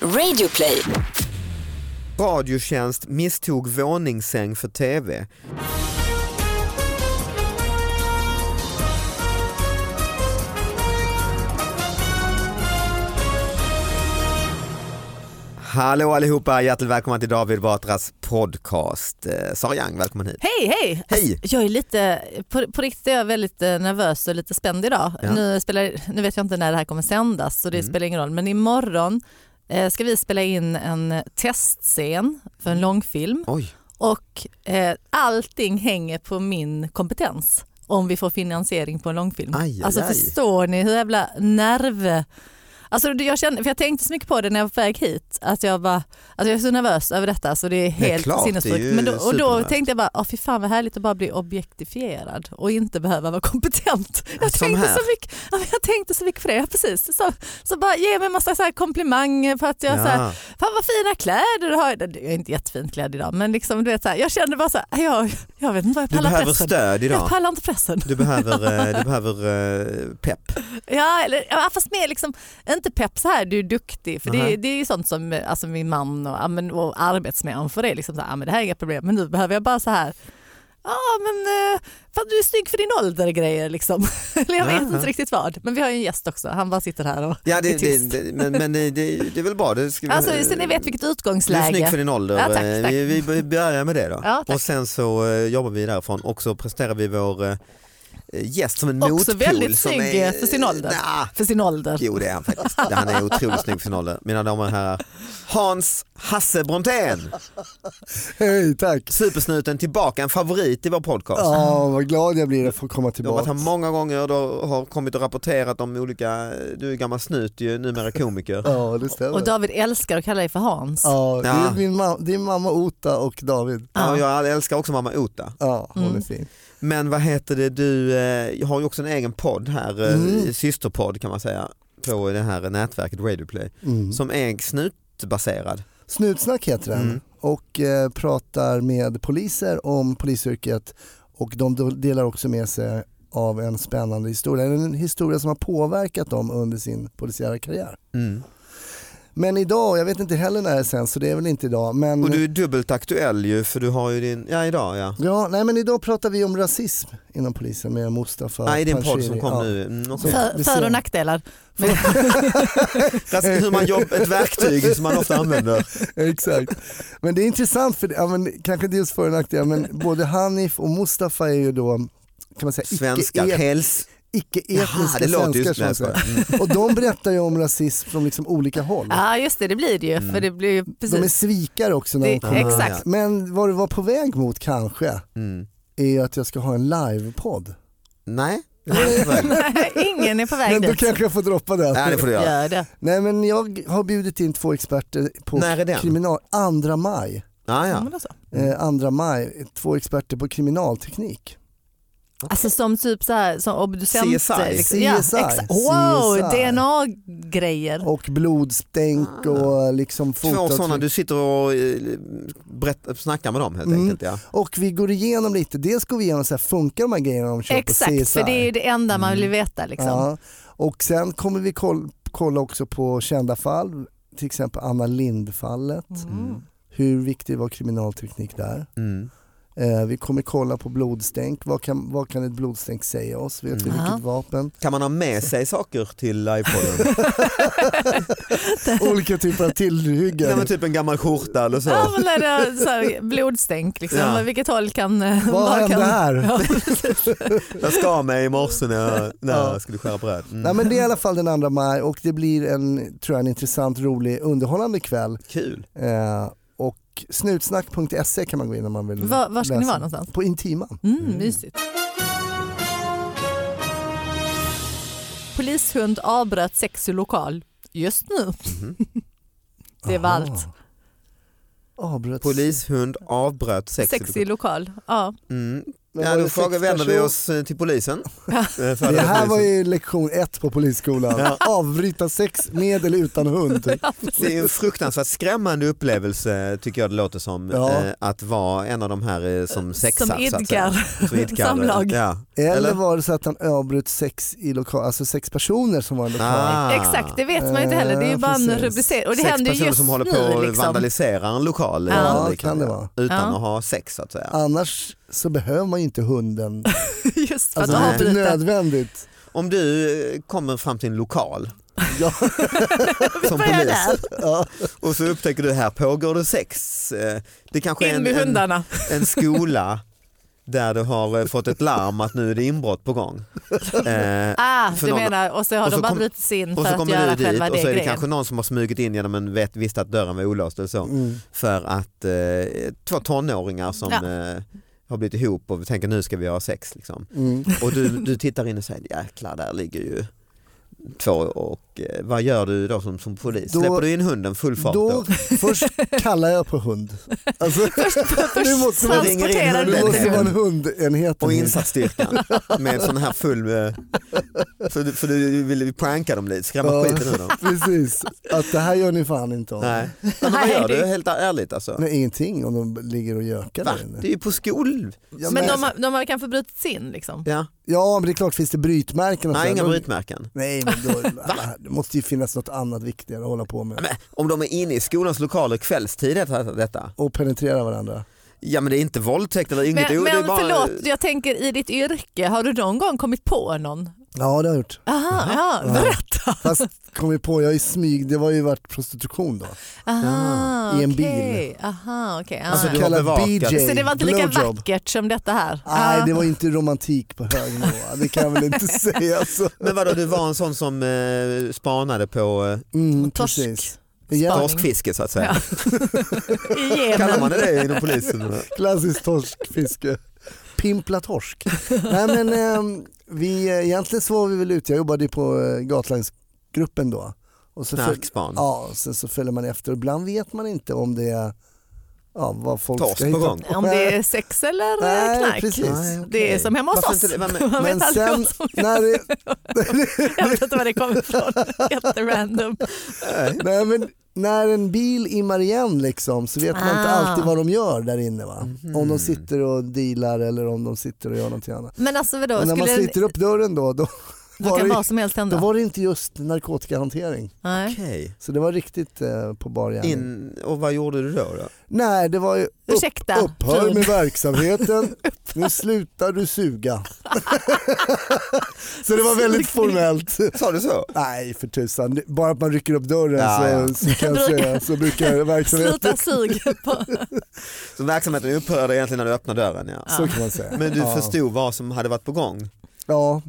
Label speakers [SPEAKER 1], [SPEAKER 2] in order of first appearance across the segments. [SPEAKER 1] Radioplay.
[SPEAKER 2] Radiotjänst misstog våningssäng för tv. Hallå allihopa, hjärtligt välkomna till David Batras podcast. Eh, Sara Young, välkommen hit.
[SPEAKER 3] Hej, hej! Alltså,
[SPEAKER 2] Hej!
[SPEAKER 3] Jag är lite, på, på riktigt är jag väldigt eh, nervös och lite spänd idag.
[SPEAKER 2] Ja.
[SPEAKER 3] Nu, spelar, nu vet jag inte när det här kommer sändas så det
[SPEAKER 2] Mm.
[SPEAKER 3] spelar ingen roll. Men imorgon eh, ska vi spela in en eh, testscen för
[SPEAKER 2] Mm.
[SPEAKER 3] en långfilm
[SPEAKER 2] Oj,
[SPEAKER 3] och eh, allting hänger på min kompetens om vi får finansiering på en långfilm.
[SPEAKER 2] Aj, aj,
[SPEAKER 3] alltså
[SPEAKER 2] aj.
[SPEAKER 3] förstår ni hur jävla nerv... Alltså det- jag, kände, för jag tänkte så mycket på det när jag var på väg hit, att jag, bara, alltså jag är så nervös över detta så det är helt
[SPEAKER 2] klart, det är
[SPEAKER 3] sinnessjukt.
[SPEAKER 2] ju
[SPEAKER 3] Men då, och då
[SPEAKER 2] supernervöst.
[SPEAKER 3] tänkte jag bara, oh, fy fan vad härligt att bara bli objektifierad och inte behöva vara kompetent. Jag,
[SPEAKER 2] Som
[SPEAKER 3] tänkte,
[SPEAKER 2] här.
[SPEAKER 3] så mycket, ja, men jag tänkte så mycket på det, ja, precis. Så, så bara ge mig en massa så här komplimanger för att jag så här,
[SPEAKER 2] ja.
[SPEAKER 3] Fan vad fina kläder du har. Jag är inte jättefint klädd idag men liksom, du vet, så här, jag kände bara så här, jag, jag vet inte vad jag
[SPEAKER 2] du
[SPEAKER 3] pallar
[SPEAKER 2] behöver
[SPEAKER 3] pressen.
[SPEAKER 2] stöd
[SPEAKER 3] Jag
[SPEAKER 2] idag.
[SPEAKER 3] pallar inte pressen.
[SPEAKER 2] Du behöver, eh, du behöver eh, pepp.
[SPEAKER 3] Ja, eller, ja, fast mer liksom, inte pepp så här, du är duktig. För det,
[SPEAKER 2] Mhm.
[SPEAKER 3] det är ju sånt som eh, alltså, min man och, ja, men, och arbetsmän för det. är Liksom, så här, ja, men det här är inga problem men nu behöver jag bara så här Ja men eh, fan, du är snygg för din ålder grejer liksom. Eller jag vet
[SPEAKER 2] Jaha.
[SPEAKER 3] inte riktigt vad. Men vi har ju en gäst också, han bara sitter här och
[SPEAKER 2] Ja,
[SPEAKER 3] är
[SPEAKER 2] det, det,
[SPEAKER 3] tyst.
[SPEAKER 2] det, men men det, det det är väl bra. Det ska vi-
[SPEAKER 3] Alltså så ni vet vilket
[SPEAKER 2] Du är
[SPEAKER 3] utgångsläge.
[SPEAKER 2] snygg för din ålder.
[SPEAKER 3] Ja, tack,
[SPEAKER 2] Eh,
[SPEAKER 3] tack.
[SPEAKER 2] Vi, vi börjar med det då.
[SPEAKER 3] Ja, tack.
[SPEAKER 2] och sen så eh, jobbar vi därifrån och så presterar vi vår eh, gäst som en
[SPEAKER 3] Också
[SPEAKER 2] motpol.
[SPEAKER 3] väldigt
[SPEAKER 2] som
[SPEAKER 3] snygg, eh, för sin ålder.
[SPEAKER 2] Nja,
[SPEAKER 3] för sin ålder.
[SPEAKER 2] jo det är han faktiskt. Han är otroligt snygg för sin ålder. Mina damer och herrar, Hans Hasse Brontén.
[SPEAKER 4] Hej, tack!
[SPEAKER 2] Supersnuten tillbaka, en favorit i vår podcast.
[SPEAKER 4] Ja, vad glad jag blir att få komma
[SPEAKER 2] Du har varit
[SPEAKER 4] tillbaka.
[SPEAKER 2] här många gånger, du har kommit och rapporterat om olika, eh, du är gammal snut ju, numera komiker.
[SPEAKER 4] Ja, det
[SPEAKER 3] Och
[SPEAKER 4] stämmer.
[SPEAKER 3] David älskar att kalla dig för Hans.
[SPEAKER 4] Ja, det
[SPEAKER 2] Ja.
[SPEAKER 4] är min ma- din mamma Ota och David.
[SPEAKER 2] Ja, och jag älskar också mamma Ota.
[SPEAKER 4] Ja, hon
[SPEAKER 3] Mm.
[SPEAKER 4] är fin.
[SPEAKER 2] Men vad heter det, du eh, har ju också en egen podd här, eh,
[SPEAKER 4] Mm.
[SPEAKER 2] systerpodd kan man säga, på det här nätverket Radioplay,
[SPEAKER 4] Mm.
[SPEAKER 2] som är snutbaserad.
[SPEAKER 4] Snutsnack heter den
[SPEAKER 2] Mm.
[SPEAKER 4] och eh, pratar med poliser om polisyrket och de do- delar också med sig av en spännande historia, Eller en historia som har påverkat dem under sin polisiära karriär.
[SPEAKER 2] Mm.
[SPEAKER 4] Men idag, jag vet inte heller när det sänds så det är väl inte idag, men,
[SPEAKER 2] Och du är dubbelt aktuell ju, för du har ju din, ja idag ja.
[SPEAKER 4] ja, nej, men idag pratar vi om rasism inom polisen med Mustafa
[SPEAKER 2] Nej, det är en podd som
[SPEAKER 4] Panshiri.
[SPEAKER 2] kom
[SPEAKER 4] Ja.
[SPEAKER 2] nu. Mm, okej.
[SPEAKER 3] För,
[SPEAKER 4] det ser
[SPEAKER 3] för och
[SPEAKER 4] jag.
[SPEAKER 3] nackdelar.
[SPEAKER 2] Fast Hur man jobbar, ett verktyg som man ofta använder.
[SPEAKER 4] Exakt. Men det är intressant, för, ja, men, kanske inte just för och nackdelar, men både Hanif och Mustafa är ju då kan man säga,
[SPEAKER 2] Svenskar,
[SPEAKER 4] icke-et-
[SPEAKER 2] häls... Jaha,
[SPEAKER 4] icke-etniska
[SPEAKER 2] det låter ju
[SPEAKER 4] svenskar.
[SPEAKER 2] som
[SPEAKER 4] som man
[SPEAKER 2] jag
[SPEAKER 4] säger.
[SPEAKER 2] skojar. Mm.
[SPEAKER 4] Och de berättar ju om rasism från liksom olika håll.
[SPEAKER 3] Ja just det, det blir det ju. För det blir ju
[SPEAKER 4] De är
[SPEAKER 3] precis.
[SPEAKER 4] svikare också. När de
[SPEAKER 3] Det,
[SPEAKER 4] kommer.
[SPEAKER 3] exakt.
[SPEAKER 4] Men vad du var på väg mot kanske
[SPEAKER 2] Mm.
[SPEAKER 4] är ju att jag ska ha en livepodd.
[SPEAKER 2] Nej, det är inte väl.
[SPEAKER 3] Nej, Ingen är på väg
[SPEAKER 4] Men då
[SPEAKER 3] dit.
[SPEAKER 4] kanske jag får droppa den.
[SPEAKER 2] Nej, det får du göra.
[SPEAKER 3] Gör det.
[SPEAKER 4] Nej men jag har bjudit in två experter på
[SPEAKER 2] När är den?
[SPEAKER 4] kriminal... 2 maj.
[SPEAKER 2] Ah,
[SPEAKER 3] Ja,
[SPEAKER 2] ja.
[SPEAKER 3] men då så.
[SPEAKER 4] Eh, 2 maj. Två experter på kriminalteknik.
[SPEAKER 3] Alltså som typ så här, som obducenter.
[SPEAKER 2] CSI.
[SPEAKER 3] Liksom. Ja,
[SPEAKER 4] CSI.
[SPEAKER 3] exakt. Wow,
[SPEAKER 4] CSI.
[SPEAKER 3] DNA-grejer.
[SPEAKER 4] och blodstänk
[SPEAKER 3] Ah.
[SPEAKER 4] och liksom
[SPEAKER 2] Två sådana,
[SPEAKER 4] fotavtryck.
[SPEAKER 2] du sitter och eh, berätt, snackar med dem helt
[SPEAKER 4] Mm.
[SPEAKER 2] enkelt. Ja.
[SPEAKER 4] Och vi går igenom lite, dels går vi igenom så här, funkar de här grejerna de kör på
[SPEAKER 3] Exakt,
[SPEAKER 4] CSI?
[SPEAKER 3] för det är ju det enda man vill veta. Liksom.
[SPEAKER 4] ja. Och sen kommer vi koll, kolla också på kända fall, till exempel Anna Lind-fallet.
[SPEAKER 3] Mm.
[SPEAKER 4] Hur viktig var kriminalteknik där?
[SPEAKER 2] Mm.
[SPEAKER 4] Eh, vi kommer kolla på blodstänk, vad kan, vad kan ett blodstänk säga oss? Vet vi
[SPEAKER 2] Mm.
[SPEAKER 4] vilket
[SPEAKER 3] Ja.
[SPEAKER 4] vapen?
[SPEAKER 2] Kan man ha med sig saker till livepodden?
[SPEAKER 4] Olika typer av
[SPEAKER 2] Nej,
[SPEAKER 4] tillhyggen.
[SPEAKER 2] men typ en gammal skjorta eller så.
[SPEAKER 3] Ja, men när det är så här, blodstänk, liksom.
[SPEAKER 2] Ja.
[SPEAKER 3] Men vilket håll kan... eh,
[SPEAKER 4] Vad
[SPEAKER 3] var
[SPEAKER 4] hände
[SPEAKER 3] kan...
[SPEAKER 4] här?
[SPEAKER 3] Ja,
[SPEAKER 2] Jag skar mig i morse när jag, när
[SPEAKER 4] Ja.
[SPEAKER 2] jag skulle skära bröd. Mm.
[SPEAKER 4] Nej, men det är i alla fall den 2 maj och det blir en, tror jag, en intressant, rolig, underhållande kväll.
[SPEAKER 2] Kul.
[SPEAKER 4] Eh, och snutsnack.se kan man gå in om man vill
[SPEAKER 3] Var- var ska ni
[SPEAKER 4] läsa.
[SPEAKER 3] vara någonstans?
[SPEAKER 4] På Intiman.
[SPEAKER 3] Mm, mysigt. Polishund avbröt sex i lokal. Just nu.
[SPEAKER 2] Mhm.
[SPEAKER 3] Det var allt.
[SPEAKER 4] Avbröts.
[SPEAKER 2] Polishund avbröt sex.
[SPEAKER 3] Sex i lokal. Ja.
[SPEAKER 2] Mm.
[SPEAKER 4] Men
[SPEAKER 2] ja,
[SPEAKER 4] var
[SPEAKER 2] då
[SPEAKER 4] det sex
[SPEAKER 2] frågar, vänder vi
[SPEAKER 4] person-
[SPEAKER 2] oss eh, till polisen. Eh, för
[SPEAKER 4] Det här
[SPEAKER 2] polisen.
[SPEAKER 4] var ju lektion ett på polisskolan. Avbryta sex med eller utan hund.
[SPEAKER 2] Det är ju en fruktansvärt skrämmande upplevelse tycker jag det låter som.
[SPEAKER 4] Ja.
[SPEAKER 2] eh, Att vara en av de här eh, som sexar.
[SPEAKER 3] Som
[SPEAKER 2] så att säga.
[SPEAKER 3] idkar.
[SPEAKER 2] Som idkar. eh,
[SPEAKER 3] Samlag.
[SPEAKER 2] Ja.
[SPEAKER 4] Eller
[SPEAKER 2] Eller?
[SPEAKER 4] var det så att han avbröt sex i lokal, alltså sex personer som var i lokalen?
[SPEAKER 2] Ah.
[SPEAKER 3] Exakt, det vet man ju inte heller. Det är ju
[SPEAKER 4] Eh,
[SPEAKER 3] bara en
[SPEAKER 4] precis.
[SPEAKER 3] rubricering. Och det
[SPEAKER 2] Sex
[SPEAKER 3] händer ju
[SPEAKER 2] personer
[SPEAKER 3] just
[SPEAKER 2] som håller på
[SPEAKER 3] nu.
[SPEAKER 2] och
[SPEAKER 3] Liksom.
[SPEAKER 2] vandaliserar en lokal. eller
[SPEAKER 3] Ja,
[SPEAKER 2] vad
[SPEAKER 4] det kan det vara.
[SPEAKER 2] Utan
[SPEAKER 3] Ja.
[SPEAKER 2] att ha sex så att säga.
[SPEAKER 4] Annars så behöver man ju inte hunden.
[SPEAKER 3] Just för att
[SPEAKER 4] Alltså, det är inte
[SPEAKER 3] avbryta.
[SPEAKER 4] nödvändigt.
[SPEAKER 2] Om du eh, kommer fram till en lokal
[SPEAKER 4] Ja,
[SPEAKER 2] som
[SPEAKER 3] börjar
[SPEAKER 2] polis
[SPEAKER 3] där.
[SPEAKER 4] ja.
[SPEAKER 2] och så upptäcker du här pågår det sex. Eh, Det kanske är
[SPEAKER 3] In
[SPEAKER 2] en,
[SPEAKER 3] med
[SPEAKER 2] en,
[SPEAKER 3] hundarna.
[SPEAKER 2] en skola där du har eh, fått ett larm att nu är det inbrott på gång. Eh,
[SPEAKER 3] Ah,
[SPEAKER 2] för
[SPEAKER 3] du
[SPEAKER 2] någon-
[SPEAKER 3] menar, och så har
[SPEAKER 2] och så
[SPEAKER 3] de bara
[SPEAKER 2] kom-
[SPEAKER 3] brutit sig in
[SPEAKER 2] Och
[SPEAKER 3] för
[SPEAKER 2] så
[SPEAKER 3] att
[SPEAKER 2] kommer
[SPEAKER 3] göra
[SPEAKER 2] du dit
[SPEAKER 3] själva
[SPEAKER 2] och
[SPEAKER 3] det
[SPEAKER 2] så är det
[SPEAKER 3] grejen.
[SPEAKER 2] kanske någon som har smugit in genom en vet, visste att dörren var olåst eller så.
[SPEAKER 4] Mm.
[SPEAKER 2] För att eh, två tonåringar som
[SPEAKER 3] Ja.
[SPEAKER 2] eh, har blivit ihop och tänker nu ska vi ha sex. Liksom.
[SPEAKER 4] Mm.
[SPEAKER 2] Och du, du tittar in och säger jäklar där ligger ju två och eh, vad gör du då som, som polis?
[SPEAKER 4] Då-
[SPEAKER 2] Släpper du in hunden full fart då?
[SPEAKER 4] Då först kallar jag på hund. Alltså, nu måste man,
[SPEAKER 2] ringer in
[SPEAKER 3] transporterar
[SPEAKER 4] nu
[SPEAKER 2] hunden.
[SPEAKER 4] måste
[SPEAKER 3] du
[SPEAKER 4] man hundenhet.
[SPEAKER 2] Och insatsstyrkan med sån här full... eh, För, du- för du vill ju pranka dem lite, skrämma
[SPEAKER 4] Ja.
[SPEAKER 2] skiten ur dem.
[SPEAKER 4] Precis, att det här gör ni fan inte om.
[SPEAKER 2] Nej. Men vad
[SPEAKER 3] Nej,
[SPEAKER 2] gör du
[SPEAKER 3] det-
[SPEAKER 2] helt ärligt alltså?
[SPEAKER 4] Nej, ingenting om de ligger och gökar
[SPEAKER 2] Va?
[SPEAKER 4] där inne.
[SPEAKER 2] Det är ju på skol...
[SPEAKER 4] Ja,
[SPEAKER 3] Men
[SPEAKER 4] men,
[SPEAKER 3] de, har- de har kanske brutit sig in liksom.
[SPEAKER 2] Ja.
[SPEAKER 4] ja, men det är klart finns det brytmärken. och
[SPEAKER 2] Nej,
[SPEAKER 4] sådär.
[SPEAKER 2] inga
[SPEAKER 4] Då-
[SPEAKER 2] brytmärken.
[SPEAKER 4] Nej, men då, det måste ju finnas något annat viktigare att hålla på med.
[SPEAKER 2] Men om de är inne i skolans lokaler kvällstid heter det- detta?
[SPEAKER 4] Och penetrera varandra.
[SPEAKER 2] Ja men det är inte våldtäkt eller inget.
[SPEAKER 3] Men,
[SPEAKER 2] o- det
[SPEAKER 3] men
[SPEAKER 2] är bara...
[SPEAKER 3] förlåt, jag tänker i ditt yrke, har du någon gång kommit på någon?
[SPEAKER 4] Ja, det har jag gjort.
[SPEAKER 3] Aha, ja, berätta.
[SPEAKER 4] Fast kom vi på, jag är i smyg, det var ju varit prostitution då.
[SPEAKER 3] Aha,
[SPEAKER 4] I en
[SPEAKER 3] okej. Aha, okej. Ah,
[SPEAKER 2] Alltså,
[SPEAKER 3] ja.
[SPEAKER 2] du har bevakat.
[SPEAKER 3] Så det var inte lika
[SPEAKER 4] blowjob.
[SPEAKER 3] vackert som detta här?
[SPEAKER 4] Nej,
[SPEAKER 3] Ah.
[SPEAKER 4] det var inte romantik på hög nivå. Det kan jag väl inte säga. Så.
[SPEAKER 2] Men vadå du var en sån som eh, spanade på eh,
[SPEAKER 4] Mm,
[SPEAKER 3] Torsk.
[SPEAKER 4] precis. Igen,
[SPEAKER 3] Spaning.
[SPEAKER 2] torskfiske så att säga.
[SPEAKER 3] Ja. I Yemen.
[SPEAKER 2] Kallar man det det inom polisen?
[SPEAKER 4] klassiskt torskfiske. Pimpla torsk. Nej, men, eh, vi, eh, egentligen så var vi väl ute, jag jobbade ju på eh, Gatlinesgruppen då. Och så föl-
[SPEAKER 2] Knarkspan. Ah,
[SPEAKER 4] ja, och sen så följer man efter och ibland vet man inte om det är ja, vad folk
[SPEAKER 2] Torsk
[SPEAKER 4] ska
[SPEAKER 2] på
[SPEAKER 4] hitta
[SPEAKER 2] gång.
[SPEAKER 3] Om det är sex eller
[SPEAKER 4] Nej,
[SPEAKER 3] knark.
[SPEAKER 4] precis.
[SPEAKER 2] Nej, okej.
[SPEAKER 3] Det är som hemma hos
[SPEAKER 2] Varför
[SPEAKER 3] oss.
[SPEAKER 2] inte det? Vad men-
[SPEAKER 3] Man vet
[SPEAKER 4] Men
[SPEAKER 3] aldrig
[SPEAKER 4] sen
[SPEAKER 3] vad som
[SPEAKER 4] när det,
[SPEAKER 3] Jag vet inte var det kommer ifrån. Jätterandom.
[SPEAKER 4] Nej, men när en bil immar igen liksom, så vet man inte
[SPEAKER 3] Ah.
[SPEAKER 4] alltid vad de gör där inne. Va?
[SPEAKER 2] Mhm.
[SPEAKER 4] Om de sitter och dealar eller om de sitter och gör någonting annat.
[SPEAKER 3] Men alltså vadå,
[SPEAKER 4] Men när man
[SPEAKER 3] skulle det,
[SPEAKER 4] sliter upp dörren då, då,
[SPEAKER 3] det
[SPEAKER 4] var
[SPEAKER 3] kan
[SPEAKER 4] det-
[SPEAKER 3] vara som helst
[SPEAKER 4] då
[SPEAKER 3] ändå?
[SPEAKER 4] var det inte just narkotikahantering.
[SPEAKER 3] Nej.
[SPEAKER 2] Okej.
[SPEAKER 4] Så det var riktigt eh, på bar gärning.
[SPEAKER 2] In, och vad gjorde du då? då?
[SPEAKER 4] Nej, det var ju upp,
[SPEAKER 3] Ursäkta,
[SPEAKER 4] upphör med
[SPEAKER 3] Frid.
[SPEAKER 4] verksamheten, nu slutar du suga. så det var väldigt formellt.
[SPEAKER 2] Sa du så?
[SPEAKER 4] Nej för tusan, Det- bara att man rycker upp dörren
[SPEAKER 2] Ja,
[SPEAKER 4] så,
[SPEAKER 2] ja.
[SPEAKER 4] så kan jag säga så brukar
[SPEAKER 3] Sluta
[SPEAKER 4] verksamheten
[SPEAKER 3] sug. På.
[SPEAKER 2] Så verksamheten upphörde egentligen när du öppnade dörren ja.
[SPEAKER 4] Så kan man säga.
[SPEAKER 2] Men du
[SPEAKER 4] ja.
[SPEAKER 2] förstod vad som hade varit på gång
[SPEAKER 4] Ja.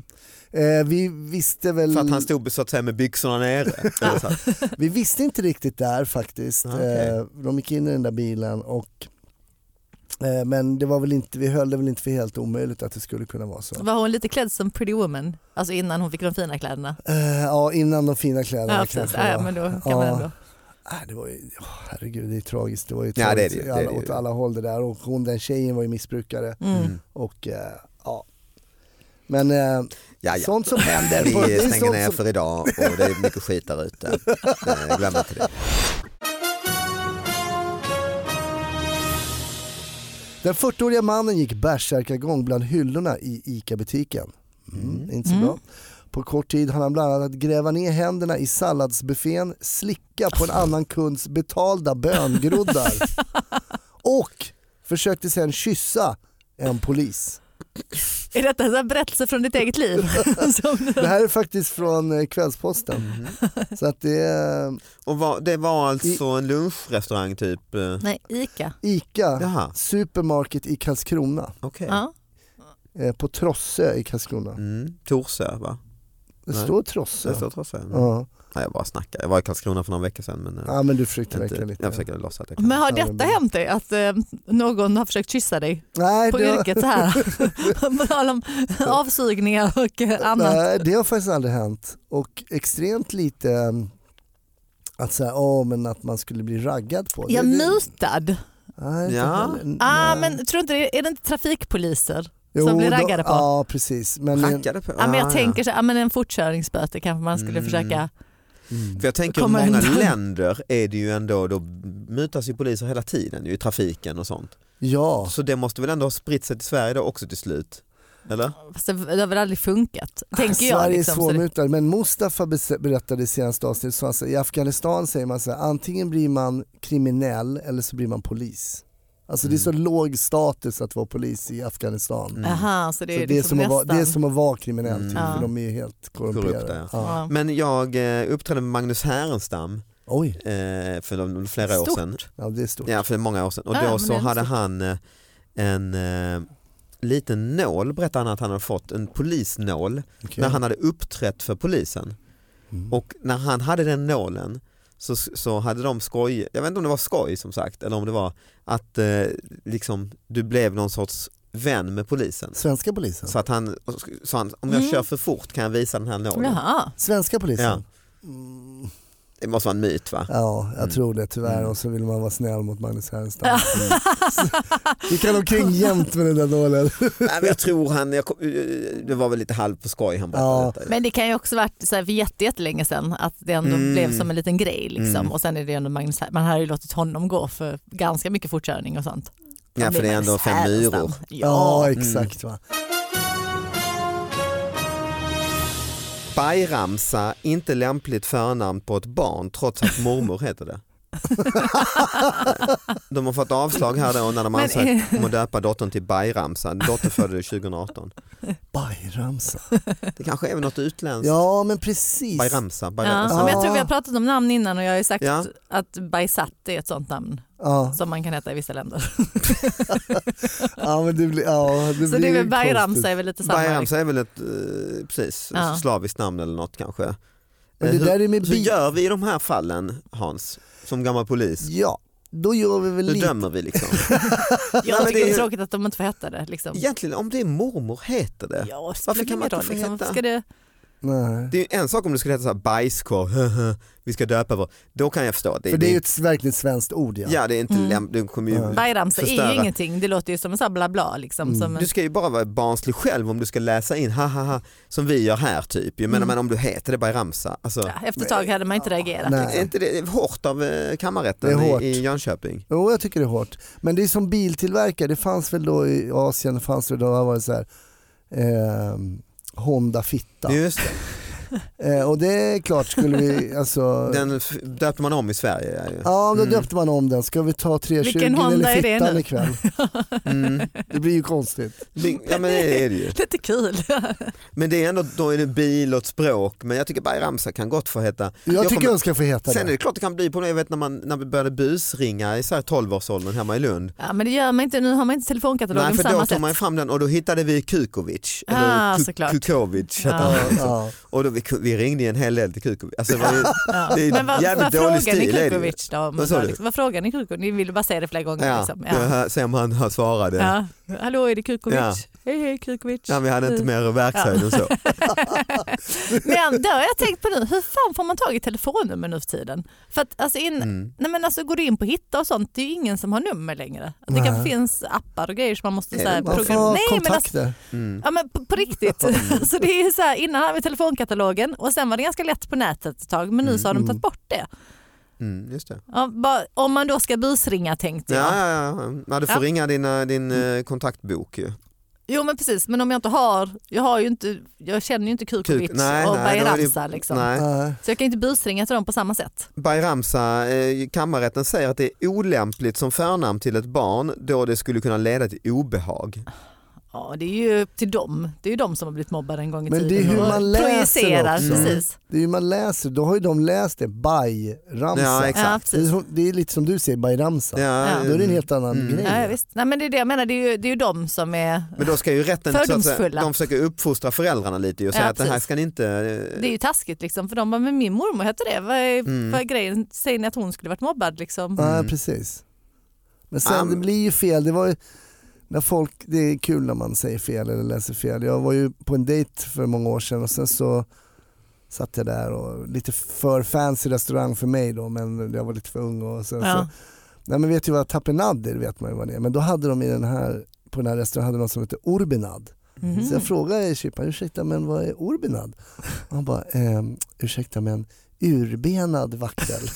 [SPEAKER 4] Eh, vi visste väl,
[SPEAKER 2] för att han stod så att säga med byxorna nere. Eller så här.
[SPEAKER 4] vi visste inte riktigt där faktiskt.
[SPEAKER 2] Ah, okej.
[SPEAKER 4] Eh, de gick in i den där bilen och eh, men det var väl inte, vi höll det väl inte för helt omöjligt att det skulle kunna vara så.
[SPEAKER 3] Var hon lite klädd som Pretty Woman? Alltså innan hon fick de fina kläderna?
[SPEAKER 4] Eh, ja, innan de fina kläderna
[SPEAKER 3] Ja, precis.
[SPEAKER 4] kanske.
[SPEAKER 3] Ja,
[SPEAKER 4] var.
[SPEAKER 3] men då kan
[SPEAKER 4] Ja.
[SPEAKER 3] man ändå.
[SPEAKER 4] Nej, det var ju, ja, herregud, det är tragiskt. Det var ju
[SPEAKER 2] Ja, det är
[SPEAKER 4] tragiskt
[SPEAKER 2] det ju,
[SPEAKER 4] i
[SPEAKER 2] det är
[SPEAKER 4] alla,
[SPEAKER 2] det ju.
[SPEAKER 4] åt alla håll det där och hon den tjejen var ju missbrukare
[SPEAKER 3] Mm.
[SPEAKER 2] Mm.
[SPEAKER 4] och eh, ja. Men eh,
[SPEAKER 2] Ja, ja.
[SPEAKER 4] sånt som händer.
[SPEAKER 2] Vi
[SPEAKER 4] på- det är
[SPEAKER 2] stänger
[SPEAKER 4] sånt
[SPEAKER 2] ner
[SPEAKER 4] som-
[SPEAKER 2] för idag och det är mycket skit där ute. Eh, Glöm inte det.
[SPEAKER 4] Den 40-åriga mannen gick bärsärkagång bland hyllorna i ICA-butiken. Mm, Inte så bra. På kort tid hann han bland annat gräva ner händerna i salladsbuffén, slicka på en annan kunds betalda böngroddar och försökte sen kyssa en polis.
[SPEAKER 3] Är detta en sån här berättelse från ditt eget liv? Som-
[SPEAKER 4] Det här är faktiskt från eh, Kvällsposten.
[SPEAKER 2] Mm.
[SPEAKER 4] Så att det är eh,
[SPEAKER 2] Och vad, det var alltså en lunchrestaurang typ? eh,
[SPEAKER 3] Nej, ICA.
[SPEAKER 4] ICA
[SPEAKER 2] Jaha,
[SPEAKER 4] Supermarket i Karlskrona,
[SPEAKER 2] okej.
[SPEAKER 3] Ja.
[SPEAKER 4] eh, på Trossö i Karlskrona.
[SPEAKER 2] Mm. Torsö va?
[SPEAKER 4] Det
[SPEAKER 2] Nej.
[SPEAKER 4] står
[SPEAKER 2] Det
[SPEAKER 4] Trossö.
[SPEAKER 2] står Torsö? Mm.
[SPEAKER 4] Ja.
[SPEAKER 2] Nej, jag bara snackar. Jag var i Karlskrona för några veckor sedan men eh,
[SPEAKER 4] ja, men du försökte
[SPEAKER 2] inte,
[SPEAKER 4] verka lite.
[SPEAKER 2] jag försöker låtsas att jag kan.
[SPEAKER 3] Men har
[SPEAKER 4] Ja, det
[SPEAKER 3] detta
[SPEAKER 4] blir-
[SPEAKER 3] hänt dig? Att eh, någon har försökt kyssa dig
[SPEAKER 4] Nej,
[SPEAKER 3] på
[SPEAKER 4] det har-
[SPEAKER 3] yrket så här? På tal om avsugningar och eh, annat.
[SPEAKER 4] Nej, det har faktiskt aldrig hänt. Och extremt lite mm, att, säga, åh, men att man skulle bli raggad på.
[SPEAKER 3] Jag
[SPEAKER 4] det, det-
[SPEAKER 3] mutad.
[SPEAKER 4] Nej, inte
[SPEAKER 2] Ja.
[SPEAKER 4] heller.
[SPEAKER 3] Ah,
[SPEAKER 4] Nej.
[SPEAKER 3] men tror du inte, det- är det inte trafikpoliser? som blir
[SPEAKER 4] då-
[SPEAKER 3] raggade på.
[SPEAKER 4] Ja precis. Men,
[SPEAKER 2] Rackade på?
[SPEAKER 3] Ja, men jag
[SPEAKER 2] Ah,
[SPEAKER 3] tänker så här, ja, men en fortkörningsböter kanske man skulle
[SPEAKER 2] Mm.
[SPEAKER 3] försöka.
[SPEAKER 4] Mm.
[SPEAKER 2] För jag tänker i
[SPEAKER 3] Komma
[SPEAKER 2] många
[SPEAKER 3] undan.
[SPEAKER 2] länder är det ju ändå, då mutas ju poliser hela tiden ju, i trafiken och sånt.
[SPEAKER 4] Ja,
[SPEAKER 2] Så det måste väl ändå ha spritt sig till Sverige då också till slut? Eller?
[SPEAKER 3] Fast det, det har väl aldrig funkat, tänker jag.
[SPEAKER 4] Sverige
[SPEAKER 3] Liksom,
[SPEAKER 4] är
[SPEAKER 3] så det,
[SPEAKER 4] svårmutad. Men Mustafa bes- berättade i senaste avsnittet, så han sa, i Afghanistan säger man så här, antingen blir man kriminell eller så blir man polis. Alltså det är så låg status att vara polis i Afghanistan.
[SPEAKER 2] Mm.
[SPEAKER 3] aha, så det är,
[SPEAKER 4] Så det, är
[SPEAKER 3] liksom
[SPEAKER 4] som att vara, det är
[SPEAKER 3] nästan-
[SPEAKER 4] som att vara kriminell,
[SPEAKER 2] Mm.
[SPEAKER 4] typ,
[SPEAKER 3] Ja.
[SPEAKER 4] för de är ju helt korrumperade.
[SPEAKER 2] Korrupta,
[SPEAKER 4] Ja.
[SPEAKER 3] ja.
[SPEAKER 2] Men jag eh, uppträdde med Magnus Härenstam
[SPEAKER 4] Oj,
[SPEAKER 2] eh, för de- flera år
[SPEAKER 3] Stort.
[SPEAKER 2] sedan.
[SPEAKER 4] ja, det är stort.
[SPEAKER 2] Ja, för många år sedan. Och
[SPEAKER 3] Ah,
[SPEAKER 2] då
[SPEAKER 3] men det
[SPEAKER 2] så
[SPEAKER 3] är
[SPEAKER 2] hade
[SPEAKER 3] stort.
[SPEAKER 2] han eh, en eh, liten nål, berättade han att han hade fått, en polisnål,
[SPEAKER 4] Okej.
[SPEAKER 2] när han hade uppträtt för polisen.
[SPEAKER 4] Mm.
[SPEAKER 2] Och när han hade den nålen så, så hade de skoj, jag vet inte om det var skoj som sagt, eller om det var att eh, liksom, du blev någon sorts vän med polisen.
[SPEAKER 4] Svenska polisen?
[SPEAKER 2] Så att han sa han, om jag
[SPEAKER 3] Mm.
[SPEAKER 2] kör för fort kan jag visa den här nålen.
[SPEAKER 3] Jaha.
[SPEAKER 4] Svenska polisen?
[SPEAKER 2] Ja.
[SPEAKER 4] Ja,
[SPEAKER 2] Det måste vara en myt va?
[SPEAKER 4] ja jag
[SPEAKER 2] Mm.
[SPEAKER 4] tror det tyvärr.
[SPEAKER 2] Mm.
[SPEAKER 4] Och så vill man vara snäll mot Magnus Härenstam. Mm. Så- Vi kan omkring jämt med den där nålen.
[SPEAKER 2] Nej, men jag tror han, jag kom, eh, det var väl lite halv på skoj han berättade
[SPEAKER 4] Ja.
[SPEAKER 2] detta.
[SPEAKER 3] Men det kan ju också varit så här för jätte- jättelänge sedan att det ändå
[SPEAKER 2] Mm.
[SPEAKER 3] blev som en liten grej. Liksom.
[SPEAKER 2] Mm.
[SPEAKER 3] Och sen är det ändå Magnus, man har ju låtit honom gå för ganska mycket fortkörning och sånt.
[SPEAKER 2] ja,
[SPEAKER 3] Han
[SPEAKER 2] för
[SPEAKER 3] blev
[SPEAKER 2] det är ändå
[SPEAKER 3] Magnus
[SPEAKER 2] fem
[SPEAKER 3] Härenstam.
[SPEAKER 2] myror.
[SPEAKER 4] Ja,
[SPEAKER 3] Ja.
[SPEAKER 2] Mm.
[SPEAKER 4] exakt va.
[SPEAKER 2] Bajramsa, inte lämpligt förnamn på ett barn trots att mormor heter det. De har fått avslag här då när de
[SPEAKER 3] Men-
[SPEAKER 2] ansökt om att döpa dottern till Bajramsa. Dottern föddes 2018.
[SPEAKER 4] Bajramsa.
[SPEAKER 2] Det kanske är något utländskt.
[SPEAKER 4] Ja men precis.
[SPEAKER 2] Bajramsa,
[SPEAKER 3] Ja,
[SPEAKER 2] Bajramsa.
[SPEAKER 3] men jag tror vi
[SPEAKER 4] Ja.
[SPEAKER 3] har pratat om namn innan och jag har ju sagt
[SPEAKER 2] Ja.
[SPEAKER 3] att Bajsat är ett sånt namn
[SPEAKER 4] Ja,
[SPEAKER 3] som man kan heta i vissa länder.
[SPEAKER 4] ja men det blir... Ja, det
[SPEAKER 3] Så
[SPEAKER 4] blir
[SPEAKER 3] det är väl
[SPEAKER 4] konstigt.
[SPEAKER 3] Bajramsa är väl lite samma. Liksom.
[SPEAKER 2] Bajramsa är väl ett eh, precis,
[SPEAKER 3] Ja.
[SPEAKER 2] slaviskt namn eller något kanske. Eh,
[SPEAKER 4] Men det
[SPEAKER 2] hur,
[SPEAKER 4] där är med
[SPEAKER 2] hur
[SPEAKER 4] bi-
[SPEAKER 2] gör vi i de här fallen Hans, som gammal polis?
[SPEAKER 4] Ja, då gör vi väl
[SPEAKER 2] Hur
[SPEAKER 4] lite...
[SPEAKER 2] dömer vi liksom? Nej,
[SPEAKER 3] Jag
[SPEAKER 2] men
[SPEAKER 3] tycker det är
[SPEAKER 2] ju-
[SPEAKER 3] tråkigt att de inte får heta det. Liksom.
[SPEAKER 2] Egentligen om det är mormor heter det.
[SPEAKER 3] Ja, det
[SPEAKER 2] Varför
[SPEAKER 3] spelar
[SPEAKER 2] kan man
[SPEAKER 3] ingen roll.
[SPEAKER 2] inte få
[SPEAKER 3] Liksom.
[SPEAKER 2] heta-
[SPEAKER 3] Ska det...
[SPEAKER 4] Nej.
[SPEAKER 2] Det är ju en sak om du skulle heta så här bajskorv, vi ska döpa vår, då kan jag förstå. att Det,
[SPEAKER 4] För det är ju ett verkligen svenskt ord ja.
[SPEAKER 2] ja. det är inte
[SPEAKER 3] Mm.
[SPEAKER 2] lämpligt, du kommer ju
[SPEAKER 4] Nej.
[SPEAKER 3] Bajramsa är
[SPEAKER 2] förstöra.
[SPEAKER 3] ju ingenting, det låter ju som en sån här bla bla. Liksom,
[SPEAKER 4] Mm.
[SPEAKER 3] som en...
[SPEAKER 2] Du ska ju bara vara barnslig själv om du ska läsa in ha ha ha som vi gör här typ. Jag menar
[SPEAKER 3] Mm.
[SPEAKER 2] men om du heter det Bayramsa. Alltså,
[SPEAKER 3] ja, efter ett tag hade man inte reagerat.
[SPEAKER 4] Nej.
[SPEAKER 2] Är inte det hårt av eh,
[SPEAKER 4] Det
[SPEAKER 2] kammarrätten
[SPEAKER 4] är hårt.
[SPEAKER 2] i, i Jönköping?
[SPEAKER 4] Jo, jag tycker det är hårt. Men det är som biltillverkare, det fanns väl då i Asien, det fanns det då har varit så här, eh, Honda fitta.
[SPEAKER 2] Just det.
[SPEAKER 4] Eh, och det är klart skulle vi, alltså,
[SPEAKER 2] Den f- döpte man om i Sverige. Ja, ju.
[SPEAKER 4] ja då
[SPEAKER 2] Mm.
[SPEAKER 4] döpte man om den, ska vi ta 320
[SPEAKER 3] Vilken Honda
[SPEAKER 4] eller
[SPEAKER 3] är det
[SPEAKER 4] fittan
[SPEAKER 3] nu?
[SPEAKER 4] ikväll?
[SPEAKER 2] Mm.
[SPEAKER 4] Det blir ju konstigt.
[SPEAKER 2] Det- ja men det är det ju.
[SPEAKER 3] Lite kul.
[SPEAKER 2] Men det är ändå, då är det bil och ett språk. Men jag tycker Bayramsa kan gott få heta
[SPEAKER 4] Jag,
[SPEAKER 2] Jag
[SPEAKER 4] tycker
[SPEAKER 2] kommer-
[SPEAKER 4] de ska få heta
[SPEAKER 2] Sen är
[SPEAKER 4] det.
[SPEAKER 2] det klart det kan bli problem, jag vet när, man, när vi började busringa i så här 12-årsåldern hemma i Lund.
[SPEAKER 3] Ja, men det gör man inte, nu har man inte
[SPEAKER 2] Nej,
[SPEAKER 3] telefonkatalogen på
[SPEAKER 2] för då
[SPEAKER 3] samma
[SPEAKER 2] tog
[SPEAKER 3] sätt.
[SPEAKER 2] man ju fram den och då hittade vi Kukovic,
[SPEAKER 3] Ah,
[SPEAKER 2] eller Ku-
[SPEAKER 3] såklart. Ah.
[SPEAKER 2] Kukovic hette
[SPEAKER 3] Ja.
[SPEAKER 2] han.
[SPEAKER 4] Ja, ja.
[SPEAKER 2] Och då vi, ku- vi ringde en hel del till Kukovic. Alltså, det var ju,
[SPEAKER 3] Ja.
[SPEAKER 2] det är
[SPEAKER 3] Men vad,
[SPEAKER 2] jävligt
[SPEAKER 3] vad
[SPEAKER 2] dålig
[SPEAKER 3] frågar
[SPEAKER 2] stil,
[SPEAKER 3] ni
[SPEAKER 2] är det ju.
[SPEAKER 3] Kukovic då? Om
[SPEAKER 2] Vad sa
[SPEAKER 3] vad,
[SPEAKER 2] du?
[SPEAKER 3] liksom, vad frågar ni Kukovic? Ni vill bara säga det flera gånger.
[SPEAKER 2] ja,
[SPEAKER 3] Liksom. Ja.
[SPEAKER 2] Se om han, han svarade. Ja.
[SPEAKER 3] Ja. Hallå är det Kukovic?
[SPEAKER 2] Ja.
[SPEAKER 3] Hej hej Kukovic.
[SPEAKER 2] vi hade inte mer verkshöjd än så.
[SPEAKER 3] Men det har jag tänkt på nu, hur fan får man tag i telefonnummer nu för tiden? För att alltså in,
[SPEAKER 2] Mm.
[SPEAKER 3] nej men alltså går du in på hitta och sånt, det är ju ingen som har nummer längre. Det
[SPEAKER 4] Nej.
[SPEAKER 3] kanske finns appar och grejer som man måste
[SPEAKER 2] Nej,
[SPEAKER 3] så här,
[SPEAKER 4] Man får
[SPEAKER 3] programmera.
[SPEAKER 4] ha
[SPEAKER 3] Nej, men alltså,
[SPEAKER 4] kontakter.
[SPEAKER 2] Mm.
[SPEAKER 3] Ja men på, på riktigt. så det är ju så här, innan hade vi telefonkatalogen och sen var det ganska lätt på nätet ett tag men nu så har de
[SPEAKER 4] Mm.
[SPEAKER 3] tagit bort det.
[SPEAKER 2] Mm, just det.
[SPEAKER 3] Ja, bara, om man då ska busringa tänkte
[SPEAKER 2] Ja,
[SPEAKER 3] jag.
[SPEAKER 2] ja, ja. ja du får
[SPEAKER 3] Ja.
[SPEAKER 2] ringa
[SPEAKER 3] Mm.
[SPEAKER 2] din, eh, din eh, kontaktbok ju.
[SPEAKER 3] Jo men precis men om jag inte har, jag har ju inte, jag känner ju inte Kukovic
[SPEAKER 2] Kuk- nej,
[SPEAKER 3] och
[SPEAKER 2] nej, då är det-
[SPEAKER 3] Bayramsa liksom.
[SPEAKER 2] Nej.
[SPEAKER 4] Nej.
[SPEAKER 3] Så jag kan ju inte busringa till dem på samma sätt.
[SPEAKER 2] Bayramsa, eh, kammarrätten säger att det är olämpligt som förnamn till ett barn då det skulle kunna leda till obehag.
[SPEAKER 3] Ja det är ju till dem, det är ju de som har blivit mobbade en gång i
[SPEAKER 4] Men
[SPEAKER 3] tiden.
[SPEAKER 4] det är hur
[SPEAKER 3] och
[SPEAKER 4] man läser det
[SPEAKER 3] projicerar,
[SPEAKER 4] också. Mm.
[SPEAKER 3] Precis.
[SPEAKER 4] Det är ju man läser, då har ju de läst det, bajramsa.
[SPEAKER 2] Ja,
[SPEAKER 3] Ja,
[SPEAKER 2] exakt.
[SPEAKER 4] det, är
[SPEAKER 3] precis.
[SPEAKER 4] som, det är lite som du säger, bajramsa.
[SPEAKER 2] Ja,
[SPEAKER 4] Då är det en helt annan
[SPEAKER 2] Mm.
[SPEAKER 4] grej.
[SPEAKER 3] Ja, visst. Nej men det är det jag menar, det är ju, det är ju de som är,
[SPEAKER 2] Men då ska ju rätten, så att säga,
[SPEAKER 3] Fördomsfulla.
[SPEAKER 2] de försöker uppfostra föräldrarna lite ju och säga
[SPEAKER 3] Ja,
[SPEAKER 2] att det här
[SPEAKER 3] precis.
[SPEAKER 2] ska ni inte... eh,
[SPEAKER 3] det är ju taskigt liksom för de bara, men min mormor hette det, vad är,
[SPEAKER 2] Mm.
[SPEAKER 3] vad är grejen, säger ni att hon skulle varit mobbad liksom?
[SPEAKER 4] Ja,
[SPEAKER 2] Mm.
[SPEAKER 4] precis. Men sen
[SPEAKER 2] Am-
[SPEAKER 4] det blir ju fel. Det, var ju, när folk, det är kul när man säger fel eller läser fel. Jag var ju på en dejt för många år sedan och sen så satt jag där och lite för fancy restaurang för mig då men jag var lite för ung och sen så
[SPEAKER 3] Ja.
[SPEAKER 4] Nej men vet ju vad tapenader vet man ju vad det är men då hade de i den här på den här restaurangen hade någon som hette Orbinad.
[SPEAKER 3] Mhm.
[SPEAKER 4] Så jag frågade kyparen, ursäkta men vad är Orbinad? Och han bara, ehm, ursäkta men urbenad vaktel.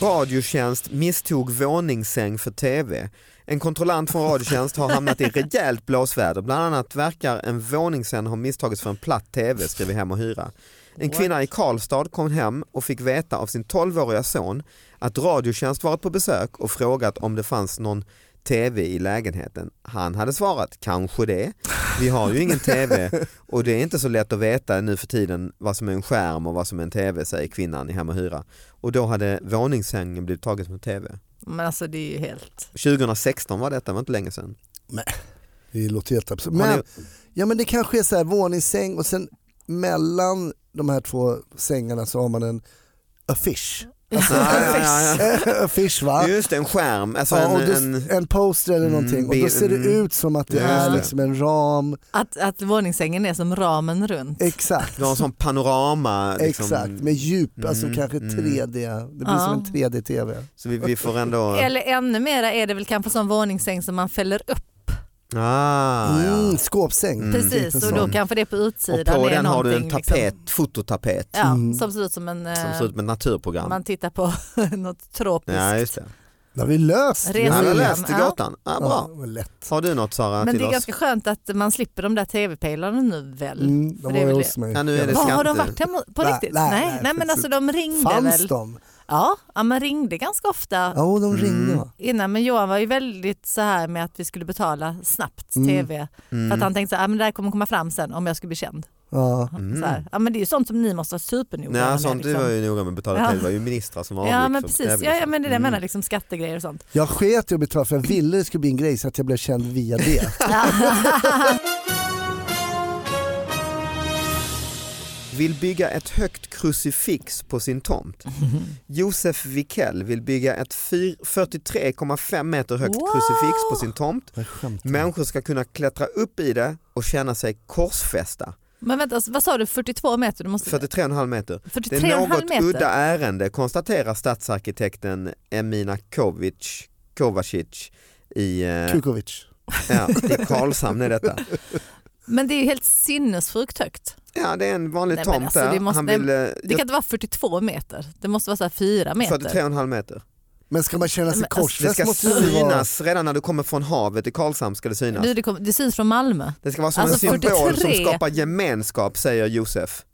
[SPEAKER 2] Radiotjänst misstog våningssäng för TV. En kontrollant från Radiotjänst har hamnat i rejält blåsväder. Bland annat verkar en våningssäng ha misstagits för en platt TV, skriver Hem och Hyra. En kvinna i Karlstad kom hem och fick veta av sin 12-åriga son att Radiotjänst varit på besök och frågat om det fanns någon TV i lägenheten. Han hade svarat, kanske det. Vi har ju ingen TV och det är inte så lätt att veta nu för tiden vad som är en skärm och vad som är en TV, säger kvinnan i Hem och Hyra. Och då hade våningssängen blivit taget som TV.
[SPEAKER 3] Men alltså det är ju helt...
[SPEAKER 2] 2016 var detta, det var inte länge sedan.
[SPEAKER 4] Det låter helt absurt.
[SPEAKER 2] Har
[SPEAKER 4] Men,
[SPEAKER 2] ni-
[SPEAKER 4] ja, men det kanske är så här våningssäng och sen mellan de här två sängarna så har man en affisch. Alltså,
[SPEAKER 2] Ja, ja, ja,
[SPEAKER 4] affisch va?
[SPEAKER 2] ja. Just det, en skärm. Alltså
[SPEAKER 4] Ja, och
[SPEAKER 2] en,
[SPEAKER 4] då,
[SPEAKER 2] en,
[SPEAKER 4] en poster eller
[SPEAKER 2] Mm,
[SPEAKER 4] någonting och då
[SPEAKER 2] bild,
[SPEAKER 4] ser det
[SPEAKER 2] mm.
[SPEAKER 4] ut som att det
[SPEAKER 2] Just
[SPEAKER 4] är
[SPEAKER 3] det.
[SPEAKER 4] liksom en ram.
[SPEAKER 3] Att, att våningssängen är som ramen runt.
[SPEAKER 4] Exakt.
[SPEAKER 2] du har en sån panorama. Liksom.
[SPEAKER 4] Exakt, med djup, alltså
[SPEAKER 2] Mm,
[SPEAKER 4] kanske
[SPEAKER 2] mm.
[SPEAKER 4] 3D. Det blir
[SPEAKER 3] Ja.
[SPEAKER 4] som en 3D-TV.
[SPEAKER 2] Så vi, vi får ändå...
[SPEAKER 3] Eller ännu mera är det väl kanske som våningssäng som man fäller upp.
[SPEAKER 2] Ah, ja.
[SPEAKER 4] Mm, skåpsäng.
[SPEAKER 2] Mm.
[SPEAKER 3] Precis,
[SPEAKER 4] Lite
[SPEAKER 3] och då
[SPEAKER 4] sån.
[SPEAKER 3] kanske det är på
[SPEAKER 2] Och
[SPEAKER 3] utsidan.
[SPEAKER 2] på
[SPEAKER 3] är
[SPEAKER 2] den har du en
[SPEAKER 3] någonting,
[SPEAKER 2] tapet,
[SPEAKER 3] Liksom,
[SPEAKER 2] fototapet
[SPEAKER 3] ja,
[SPEAKER 4] Mm.
[SPEAKER 3] Som ser ut som en...
[SPEAKER 2] som
[SPEAKER 3] eh,
[SPEAKER 2] ser ut med naturprogram.
[SPEAKER 3] man tittar på något tropiskt.
[SPEAKER 2] ja, just det.
[SPEAKER 4] Det har vi
[SPEAKER 3] Resa
[SPEAKER 4] löst. Ja,
[SPEAKER 2] Jag
[SPEAKER 3] Reser
[SPEAKER 2] hade
[SPEAKER 3] hem,
[SPEAKER 2] läst i
[SPEAKER 3] ja.
[SPEAKER 2] gatan. Ja,
[SPEAKER 4] Ja,
[SPEAKER 2] bra.
[SPEAKER 4] vad lätt.
[SPEAKER 2] Har du något Sara
[SPEAKER 3] Men
[SPEAKER 2] till
[SPEAKER 3] det är
[SPEAKER 2] oss?
[SPEAKER 3] ganska skönt att man slipper de där tv-pelarna nu väl?
[SPEAKER 4] Mm, de
[SPEAKER 3] det är
[SPEAKER 4] var
[SPEAKER 3] väl
[SPEAKER 4] hos mig.
[SPEAKER 2] Ja, nu är det
[SPEAKER 3] Var har de
[SPEAKER 2] inte-
[SPEAKER 3] varit hemma på
[SPEAKER 4] Nej,
[SPEAKER 3] riktigt?
[SPEAKER 4] nej,
[SPEAKER 3] Nej, nej,
[SPEAKER 4] nej,
[SPEAKER 3] men
[SPEAKER 4] precis.
[SPEAKER 3] alltså de ringde
[SPEAKER 4] Fanns
[SPEAKER 3] väl?
[SPEAKER 4] de?
[SPEAKER 3] Ja, ja, man ringde ganska ofta
[SPEAKER 4] Ja, de ringde
[SPEAKER 2] Mm.
[SPEAKER 4] va?
[SPEAKER 3] innan men Johan var ju väldigt så här med att vi skulle betala snabbt
[SPEAKER 4] Mm.
[SPEAKER 3] tv. För att
[SPEAKER 2] Mm.
[SPEAKER 3] han tänkte att ah, men det där kommer komma fram sen om jag skulle bli känd.
[SPEAKER 4] Ja.
[SPEAKER 2] Mm.
[SPEAKER 3] Så här. Ja, men det är ju sånt som ni måste vara supernoga
[SPEAKER 2] Nej,
[SPEAKER 3] med. liksom.
[SPEAKER 2] sånt det var ju liksom. noga med att betala
[SPEAKER 3] Ja.
[SPEAKER 2] till. Det var ju ministrar som avgick.
[SPEAKER 3] Ja men
[SPEAKER 2] som
[SPEAKER 3] precis,
[SPEAKER 2] jävligt
[SPEAKER 3] ja, ja,
[SPEAKER 2] sånt.
[SPEAKER 3] men det är det jag
[SPEAKER 2] Mm.
[SPEAKER 3] menar, liksom skattegrejer och sånt.
[SPEAKER 4] Jag sket i att betala för jag ville det skulle bli en grej så att jag blev känd via det.
[SPEAKER 2] Vill bygga ett högt krucifix på sin tomt. Josef Wikell vill bygga ett fyr- 43,5 meter högt
[SPEAKER 3] Wow!
[SPEAKER 2] krucifix på sin tomt.
[SPEAKER 4] Jag skämtar.
[SPEAKER 2] Människor ska kunna klättra upp i det och känna sig korsfästa.
[SPEAKER 3] Men vänta, alltså, vad sa du, 42 meter? Du måste...
[SPEAKER 2] 43,5 meter. Det
[SPEAKER 3] 43,5
[SPEAKER 2] är något
[SPEAKER 3] meter?
[SPEAKER 2] udda ärende konstaterar stadsarkitekten Emina Kovic, Kovacic i, eh,
[SPEAKER 4] Kukovic.
[SPEAKER 2] ja, i Karlshamn. Är detta.
[SPEAKER 3] Men det är ju helt sinnessjukt högt.
[SPEAKER 2] Ja, det är en vanlig
[SPEAKER 3] Nej, men
[SPEAKER 2] tomt
[SPEAKER 3] alltså,
[SPEAKER 2] där.
[SPEAKER 3] det måste-
[SPEAKER 2] Han vill, eh,
[SPEAKER 3] Det kan inte vara 42 meter, det måste vara så här 4 meter.
[SPEAKER 2] 43,5 meter.
[SPEAKER 4] Men ska man känna sig
[SPEAKER 3] Men alltså,
[SPEAKER 2] Det
[SPEAKER 4] korsfäst
[SPEAKER 2] ska
[SPEAKER 4] måste det ju vara...
[SPEAKER 2] synas redan när du kommer från havet i Karlshamn ska det synas.
[SPEAKER 3] Du, det, kom, det syns från Malmö.
[SPEAKER 2] Det ska vara som
[SPEAKER 3] Typ, Alltså,
[SPEAKER 2] en symbol
[SPEAKER 3] 43.
[SPEAKER 2] som skapar gemenskap säger Josef.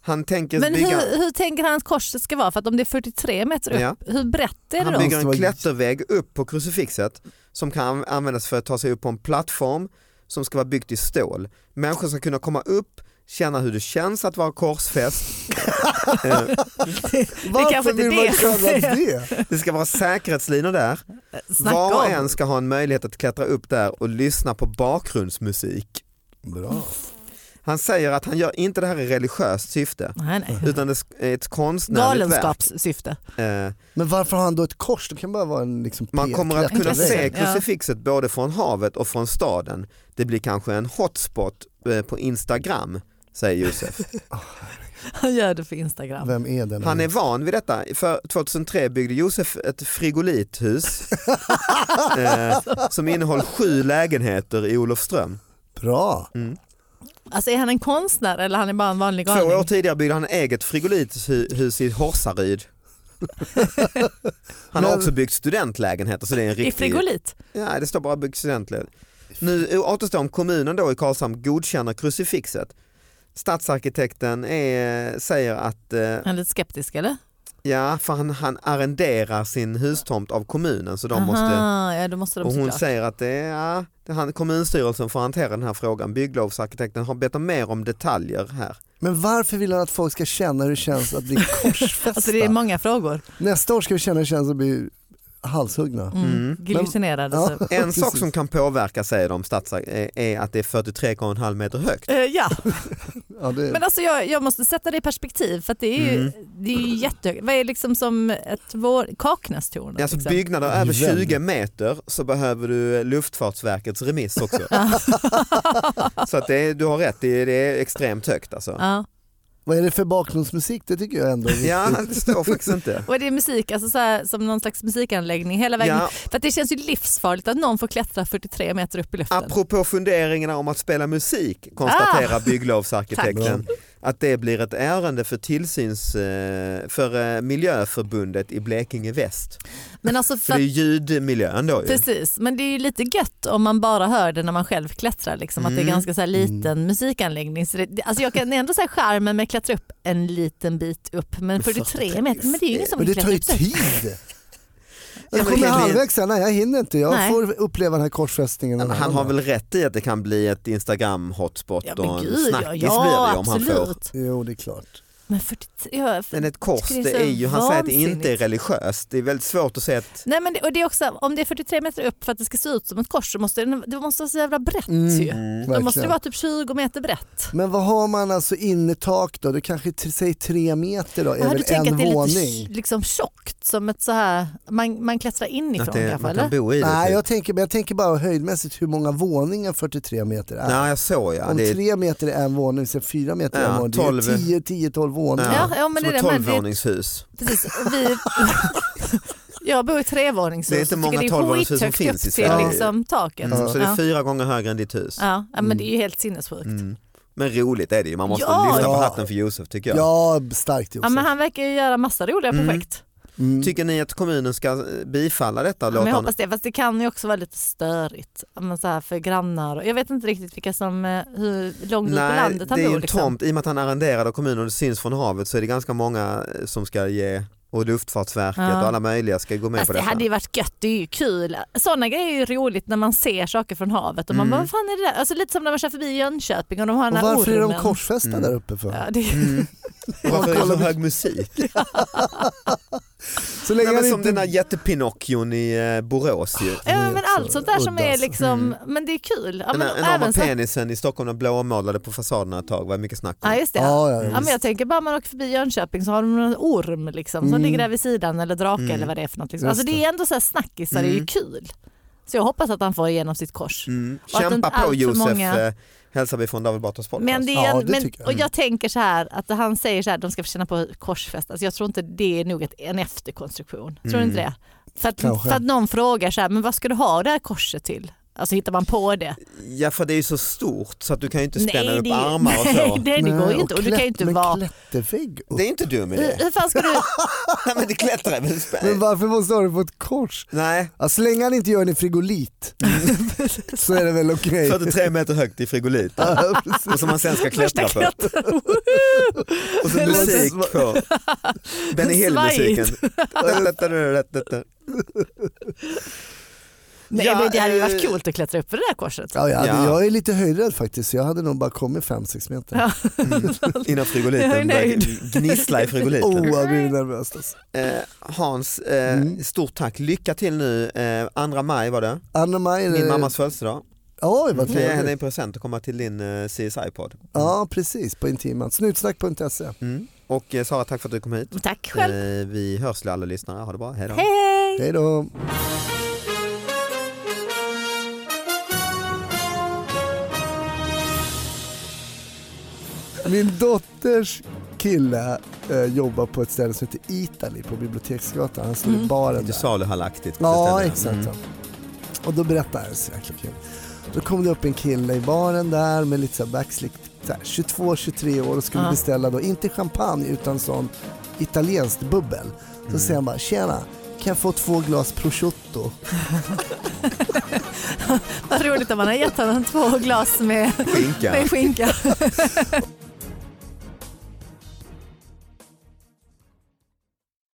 [SPEAKER 2] Han tänker
[SPEAKER 3] Men
[SPEAKER 2] bygga,
[SPEAKER 3] hur, hur tänker han att korset ska vara? För att om det är 43 meter upp,
[SPEAKER 2] Ja.
[SPEAKER 3] hur brett är det
[SPEAKER 2] han
[SPEAKER 3] då?
[SPEAKER 2] bygger
[SPEAKER 4] Det var
[SPEAKER 2] en
[SPEAKER 4] ju-
[SPEAKER 2] klätterväg upp på krucifixet som kan användas för att ta sig upp på en plattform som ska vara byggt i stål. Människor ska kunna komma upp, känna hur det känns att vara korsfäst. Eh,
[SPEAKER 3] kanske
[SPEAKER 4] Varför
[SPEAKER 3] inte
[SPEAKER 4] vill man
[SPEAKER 3] det.
[SPEAKER 4] kalla det?
[SPEAKER 2] det ska vara säkerhetslinor där.
[SPEAKER 3] Snacka
[SPEAKER 2] Var och
[SPEAKER 3] om.
[SPEAKER 2] en ska ha en möjlighet att klättra upp där och lyssna på bakgrundsmusik.
[SPEAKER 4] Bra.
[SPEAKER 2] Han säger att han gör inte det här i religiöst syfte
[SPEAKER 3] Nej, nej.
[SPEAKER 2] utan det är ett konstnärligt verk.
[SPEAKER 3] Galenskapssyfte.
[SPEAKER 2] Eh,
[SPEAKER 4] Men varför har han då ett kors? Det kan bara vara en liksom
[SPEAKER 2] Man
[SPEAKER 4] pet-
[SPEAKER 2] kommer att kunna
[SPEAKER 4] klättervägg.
[SPEAKER 2] se
[SPEAKER 3] Intresset, ja.
[SPEAKER 2] krucifixet både från havet och från staden. Det blir kanske en hotspot eh, på Instagram, säger Josef.
[SPEAKER 3] Han gör det för Instagram.
[SPEAKER 4] Vem är den?
[SPEAKER 2] Han är van vid detta. För 2003 byggde Josef ett frigolithus eh, som innehöll sju lägenheter i Olofström.
[SPEAKER 4] Bra.
[SPEAKER 2] Mm.
[SPEAKER 3] Alltså är han en konstnär eller han är bara en vanlig
[SPEAKER 2] Två år
[SPEAKER 3] galning?
[SPEAKER 2] tidigare byggde han eget frigolithus i Horsaryd. Han har
[SPEAKER 4] Men-
[SPEAKER 2] också byggt studentlägenheter så det är en
[SPEAKER 3] I
[SPEAKER 2] riktig
[SPEAKER 3] frigolit?
[SPEAKER 2] Nej, det står bara bygg studentled. Nu återstår om kommunen då i Karlshamn godkänner krucifixet. Stadsarkitekten är, säger att eh,
[SPEAKER 3] Han är lite skeptisk eller?
[SPEAKER 2] ja, för han, han arrenderar sin hustomt av kommunen så de måste
[SPEAKER 3] Aha, ja, då måste de
[SPEAKER 2] och hon
[SPEAKER 3] såklart.
[SPEAKER 2] säger att det är, ja, det är han, kommunstyrelsen får hantera den här frågan. Bygglovsarkitekten har bett om mer om detaljer här.
[SPEAKER 4] Men varför vill han att folk ska känna hur det känns att bli korsfästa?
[SPEAKER 3] Alltså det är många frågor.
[SPEAKER 4] Nästa år ska vi känna hur det känns att bli halshuggna.
[SPEAKER 3] Mm.
[SPEAKER 2] Mm.
[SPEAKER 3] Giljotinerad.
[SPEAKER 4] Men-
[SPEAKER 3] alltså.
[SPEAKER 2] En sak
[SPEAKER 4] Precis.
[SPEAKER 2] som kan påverka säger de stadsar- är- är att det är 43,5 meter högt.
[SPEAKER 3] Eh, ja,
[SPEAKER 4] Ja, det...
[SPEAKER 3] men alltså jag, jag måste sätta det i perspektiv för att det är ju,
[SPEAKER 2] Mm.
[SPEAKER 3] det är ju jättehögt. Vad är liksom som ett vår, Kaknästorn?
[SPEAKER 2] Alltså
[SPEAKER 3] liksom?
[SPEAKER 2] byggnader över
[SPEAKER 4] Väldigt.
[SPEAKER 2] 20 meter så behöver du eh, Luftfartsverkets remiss också. så att det är, du har rätt, det är, det är extremt högt alltså.
[SPEAKER 3] Ja.
[SPEAKER 4] Vad är det för bakgrundsmusik? Det tycker jag ändå är viktigt.
[SPEAKER 2] Ja, det står faktiskt inte.
[SPEAKER 3] Och det är musik, alltså så här, som någon slags musikanläggning hela vägen.
[SPEAKER 2] Ja.
[SPEAKER 3] För att det känns ju livsfarligt att någon får klättra 43 meter upp i luften. Ah!
[SPEAKER 2] Apropå funderingarna om att spela musik konstaterar bygglovsarkitekten att det blir ett ärende för tillsyns eh, för eh, miljöförbundet i Blekinge Väst.
[SPEAKER 3] Men alltså för
[SPEAKER 2] För det är
[SPEAKER 3] att,
[SPEAKER 2] ju ljudmiljön då ju.
[SPEAKER 3] precis, men det är ju lite gött om man bara hör det när man själv klättrar. Liksom, Att det
[SPEAKER 2] Mm.
[SPEAKER 3] är ganska så här liten musikanläggning. Så det, alltså jag kan ändå säga charmen med att klättra upp en liten bit upp. Men 43 meter, men det är ju ingen som
[SPEAKER 4] Men det
[SPEAKER 3] vill
[SPEAKER 4] tar
[SPEAKER 3] klättra
[SPEAKER 4] ju
[SPEAKER 3] upp sig.
[SPEAKER 2] typ
[SPEAKER 4] tid. Jag
[SPEAKER 2] men
[SPEAKER 4] kommer
[SPEAKER 2] egentligen-
[SPEAKER 4] halvvägs här, nej jag hinner inte. Jag
[SPEAKER 3] Nej.
[SPEAKER 4] får uppleva den här korsfästningen.
[SPEAKER 2] Men Han har väl rätt i att det kan bli ett Instagram-hotspot
[SPEAKER 3] Ja,
[SPEAKER 2] och
[SPEAKER 3] men
[SPEAKER 2] en
[SPEAKER 3] gud, ja,
[SPEAKER 2] snackis blir det
[SPEAKER 3] ja
[SPEAKER 2] ju om han får.
[SPEAKER 3] absolut.
[SPEAKER 4] Jo det är klart.
[SPEAKER 3] Men 43, ja, för,
[SPEAKER 2] Men ett kors,
[SPEAKER 3] Tycker det är
[SPEAKER 2] det är
[SPEAKER 3] så
[SPEAKER 2] ju, han säger att det inte är
[SPEAKER 3] vansinnigt.
[SPEAKER 2] religiöst. Det är väldigt svårt att säga att
[SPEAKER 3] Nej, men det, och det är också, om det är 43 meter upp för att det ska se ut som ett kors så måste det, det måste vara så jävla brett
[SPEAKER 2] Mm,
[SPEAKER 3] ju. Då måste det
[SPEAKER 4] verkligen.
[SPEAKER 3] vara typ 20 meter brett.
[SPEAKER 4] Men vad har man alltså innertak då? Det kanske t- säg tre meter då, är
[SPEAKER 3] Ja, du
[SPEAKER 4] väl
[SPEAKER 3] tänker
[SPEAKER 4] en
[SPEAKER 3] att det är
[SPEAKER 4] våning?
[SPEAKER 3] lite liksom tjockt som ett så här, man, man klättrar inifrån
[SPEAKER 2] att det,
[SPEAKER 3] kanske
[SPEAKER 2] man kan
[SPEAKER 3] eller?
[SPEAKER 2] bo i det.
[SPEAKER 4] Nej
[SPEAKER 2] typ.
[SPEAKER 4] jag tänker, men jag tänker bara höjdmässigt hur många våningar 43 meter är.
[SPEAKER 2] Nej, jag såg ja.
[SPEAKER 4] Om
[SPEAKER 2] Det är
[SPEAKER 4] tre meter är en våning, så fyra meter är
[SPEAKER 2] Ja,
[SPEAKER 4] en våning. Det är ju
[SPEAKER 2] tolv.
[SPEAKER 4] 10, 10, 12 våningar.
[SPEAKER 3] Ja, ja, men
[SPEAKER 2] som
[SPEAKER 3] det är
[SPEAKER 2] ett
[SPEAKER 3] det, men det-
[SPEAKER 2] tolvvåningshus.
[SPEAKER 3] Precis, och vi, jag bor i trevåningshus
[SPEAKER 2] Det är
[SPEAKER 3] och
[SPEAKER 2] inte
[SPEAKER 3] tycker
[SPEAKER 2] många
[SPEAKER 3] det är
[SPEAKER 2] tolvvåningshus som
[SPEAKER 3] skithögt
[SPEAKER 2] finns i
[SPEAKER 3] upp
[SPEAKER 2] Sverige.
[SPEAKER 3] till liksom, taket.
[SPEAKER 2] Mm, Så det är
[SPEAKER 3] Ja.
[SPEAKER 2] fyra gånger högre än ditt hus.
[SPEAKER 3] Ja, ja, men det är ju helt sinnessjukt.
[SPEAKER 2] Mm. Men roligt är det ju, man måste
[SPEAKER 3] Ja,
[SPEAKER 2] lyfta på
[SPEAKER 4] ja.
[SPEAKER 2] hatten för Josef tycker jag.
[SPEAKER 4] Ja, starkt
[SPEAKER 3] Ja,
[SPEAKER 4] Josef.
[SPEAKER 3] men han verkar ju göra massa roliga projekt.
[SPEAKER 4] Mm.
[SPEAKER 2] Tycker ni att kommunen ska eh, bifalla detta? och
[SPEAKER 3] men
[SPEAKER 2] låta
[SPEAKER 3] jag
[SPEAKER 2] honom-
[SPEAKER 3] hoppas det, fast det kan ju också vara lite störigt ja, men så här för grannar. Och Jag vet inte riktigt vilka som, eh, hur långt ut på
[SPEAKER 2] Nej,
[SPEAKER 3] landet
[SPEAKER 2] det
[SPEAKER 3] han
[SPEAKER 2] är ju
[SPEAKER 3] bor.
[SPEAKER 2] en
[SPEAKER 3] Liksom.
[SPEAKER 2] tomt. I och med att han arrenderar av kommunen och det syns från havet så är det ganska många eh, som ska ge och Luftfartsverket
[SPEAKER 3] Ja.
[SPEAKER 2] och alla möjliga ska gå med
[SPEAKER 3] Fast
[SPEAKER 2] på
[SPEAKER 3] det
[SPEAKER 2] detta.
[SPEAKER 3] hade ju varit gött, det är ju kul. Sådana grejer är ju roligt när man ser saker från havet och man
[SPEAKER 2] Mm.
[SPEAKER 3] bara, vad fan är det där? Alltså lite som när man kör förbi Jönköping och de har
[SPEAKER 4] Och
[SPEAKER 3] den här
[SPEAKER 4] varför är de
[SPEAKER 3] ormen.
[SPEAKER 4] korsfästa
[SPEAKER 2] Mm.
[SPEAKER 4] där uppe för?
[SPEAKER 3] Ja, det,
[SPEAKER 2] Och Varför är det så hög musik?
[SPEAKER 4] Så länge
[SPEAKER 2] Nej, men
[SPEAKER 4] han
[SPEAKER 2] som
[SPEAKER 4] inte...
[SPEAKER 2] den där jättepinocchion i eh, Borås ju.
[SPEAKER 3] Ah, ja, men allt sånt där som
[SPEAKER 4] Mm, Udda,
[SPEAKER 3] är
[SPEAKER 4] alltså.
[SPEAKER 3] liksom, men det är kul. Ja,
[SPEAKER 2] Den
[SPEAKER 3] men,
[SPEAKER 2] där enorma
[SPEAKER 3] även så,
[SPEAKER 2] penisen i Stockholm, den blåmålade på fasaderna ett tag, var det mycket snack om.
[SPEAKER 3] ja just det.
[SPEAKER 4] Ja, ja,
[SPEAKER 3] Ja, men jag tänker bara man åker förbi Jönköping så har de någon orm liksom, som ligger där vid sidan eller drake eller vad det är för något. Liksom.
[SPEAKER 4] Mm. Just Mm.
[SPEAKER 3] Alltså, det är ändå så här snackisar, det är ju kul. Så jag hoppas att han får igenom sitt kors.
[SPEAKER 2] Mm.
[SPEAKER 3] Och att
[SPEAKER 2] Kämpa
[SPEAKER 3] inte allt
[SPEAKER 2] på
[SPEAKER 3] för
[SPEAKER 2] Josef,
[SPEAKER 3] många-
[SPEAKER 2] eh, hälsar vi från David Batras podcast.
[SPEAKER 3] Men det är,
[SPEAKER 4] Ja,
[SPEAKER 3] en-
[SPEAKER 4] det
[SPEAKER 3] men,
[SPEAKER 4] tycker jag. Mm.
[SPEAKER 3] och jag tänker så här att han säger så här, de ska få känna på korsfäst. Alltså jag tror inte det är nog ett, en efterkonstruktion. Tror du inte det? För att,
[SPEAKER 4] Mm. Kanske.
[SPEAKER 3] för att någon frågar så här, men vad ska du ha det här korset till? Alltså hittar man på det?
[SPEAKER 2] Ja för det är ju så stort så att du kan ju inte spänna upp
[SPEAKER 3] det,
[SPEAKER 2] armar och så.
[SPEAKER 3] nej, det, det går ju inte. Och du kan ju inte
[SPEAKER 4] men
[SPEAKER 3] vara...
[SPEAKER 4] klättervägg upp.
[SPEAKER 2] Det är inte dum idé.
[SPEAKER 3] Hur, hur fan ska du...
[SPEAKER 2] Nej men det klättrar är väl
[SPEAKER 4] Men
[SPEAKER 2] spänn.
[SPEAKER 4] varför måste han ha det på ett kors?
[SPEAKER 2] Nej,
[SPEAKER 4] Ja, så länge han inte gör den i frigolit
[SPEAKER 3] Mm.
[SPEAKER 4] så är det väl okej.
[SPEAKER 2] 43 meter högt i frigolit.
[SPEAKER 4] Ja, precis.
[SPEAKER 2] Och som man sen ska
[SPEAKER 3] Första
[SPEAKER 2] klättra på.
[SPEAKER 3] klättrar, woho!
[SPEAKER 2] Och så musik på. Benny Hill-musiken.
[SPEAKER 3] Nej
[SPEAKER 2] Ja,
[SPEAKER 3] men det hade ju varit
[SPEAKER 2] eh,
[SPEAKER 3] coolt att klättra upp för det där korset.
[SPEAKER 4] Ja, ja,
[SPEAKER 2] Ja.
[SPEAKER 4] Jag är lite höjdrädd faktiskt, så jag hade nog bara kommit 5-6 meter.
[SPEAKER 3] Ja.
[SPEAKER 2] Innan
[SPEAKER 3] Jag är
[SPEAKER 2] frigoliten börjar
[SPEAKER 3] nöjd.
[SPEAKER 2] gnissla i
[SPEAKER 4] Oh,
[SPEAKER 2] frigoliten.
[SPEAKER 4] jag blir nervös. Alltså.
[SPEAKER 2] Eh, Hans, eh,
[SPEAKER 4] Mm.
[SPEAKER 2] stort tack. Lycka till nu. Eh, 2 maj var det.
[SPEAKER 4] Anna Maj,
[SPEAKER 2] Min mammas födelsedag.
[SPEAKER 4] Oj, Eh, vad
[SPEAKER 2] Kan jag ge henne
[SPEAKER 4] trevligt.
[SPEAKER 2] en present och komma till din eh, CSI-podd.
[SPEAKER 4] Ja, precis. På Intiman. Snutsnack.se.
[SPEAKER 2] Mm. Och eh, Sara, tack för att du kom hit.
[SPEAKER 3] Tack själv.
[SPEAKER 2] Eh, vi hörs alla lyssnare. Ha det bra. Hej då.
[SPEAKER 3] Hej hej!
[SPEAKER 4] Hej då. Min dotters kille eh, jobbar på ett ställe som heter Italy på Biblioteksgatan. Han står i baren
[SPEAKER 2] Lite
[SPEAKER 4] där.
[SPEAKER 2] saluhallaktigt. på
[SPEAKER 4] Ja,
[SPEAKER 2] stället.
[SPEAKER 4] exakt.
[SPEAKER 2] Mm.
[SPEAKER 4] så. Och då berättade jag, så jäkla kul. Då kom det upp en kille i baren där med lite så här backslick, så här 22-23 år och skulle
[SPEAKER 3] Ja.
[SPEAKER 4] beställa då, inte champagne utan sån italienskt bubbel. Så säger han bara, tjena, kan jag få två glas prosciutto?
[SPEAKER 3] Vad roligt att man har gett honom två glas med,
[SPEAKER 2] Skinka.
[SPEAKER 3] med skinka.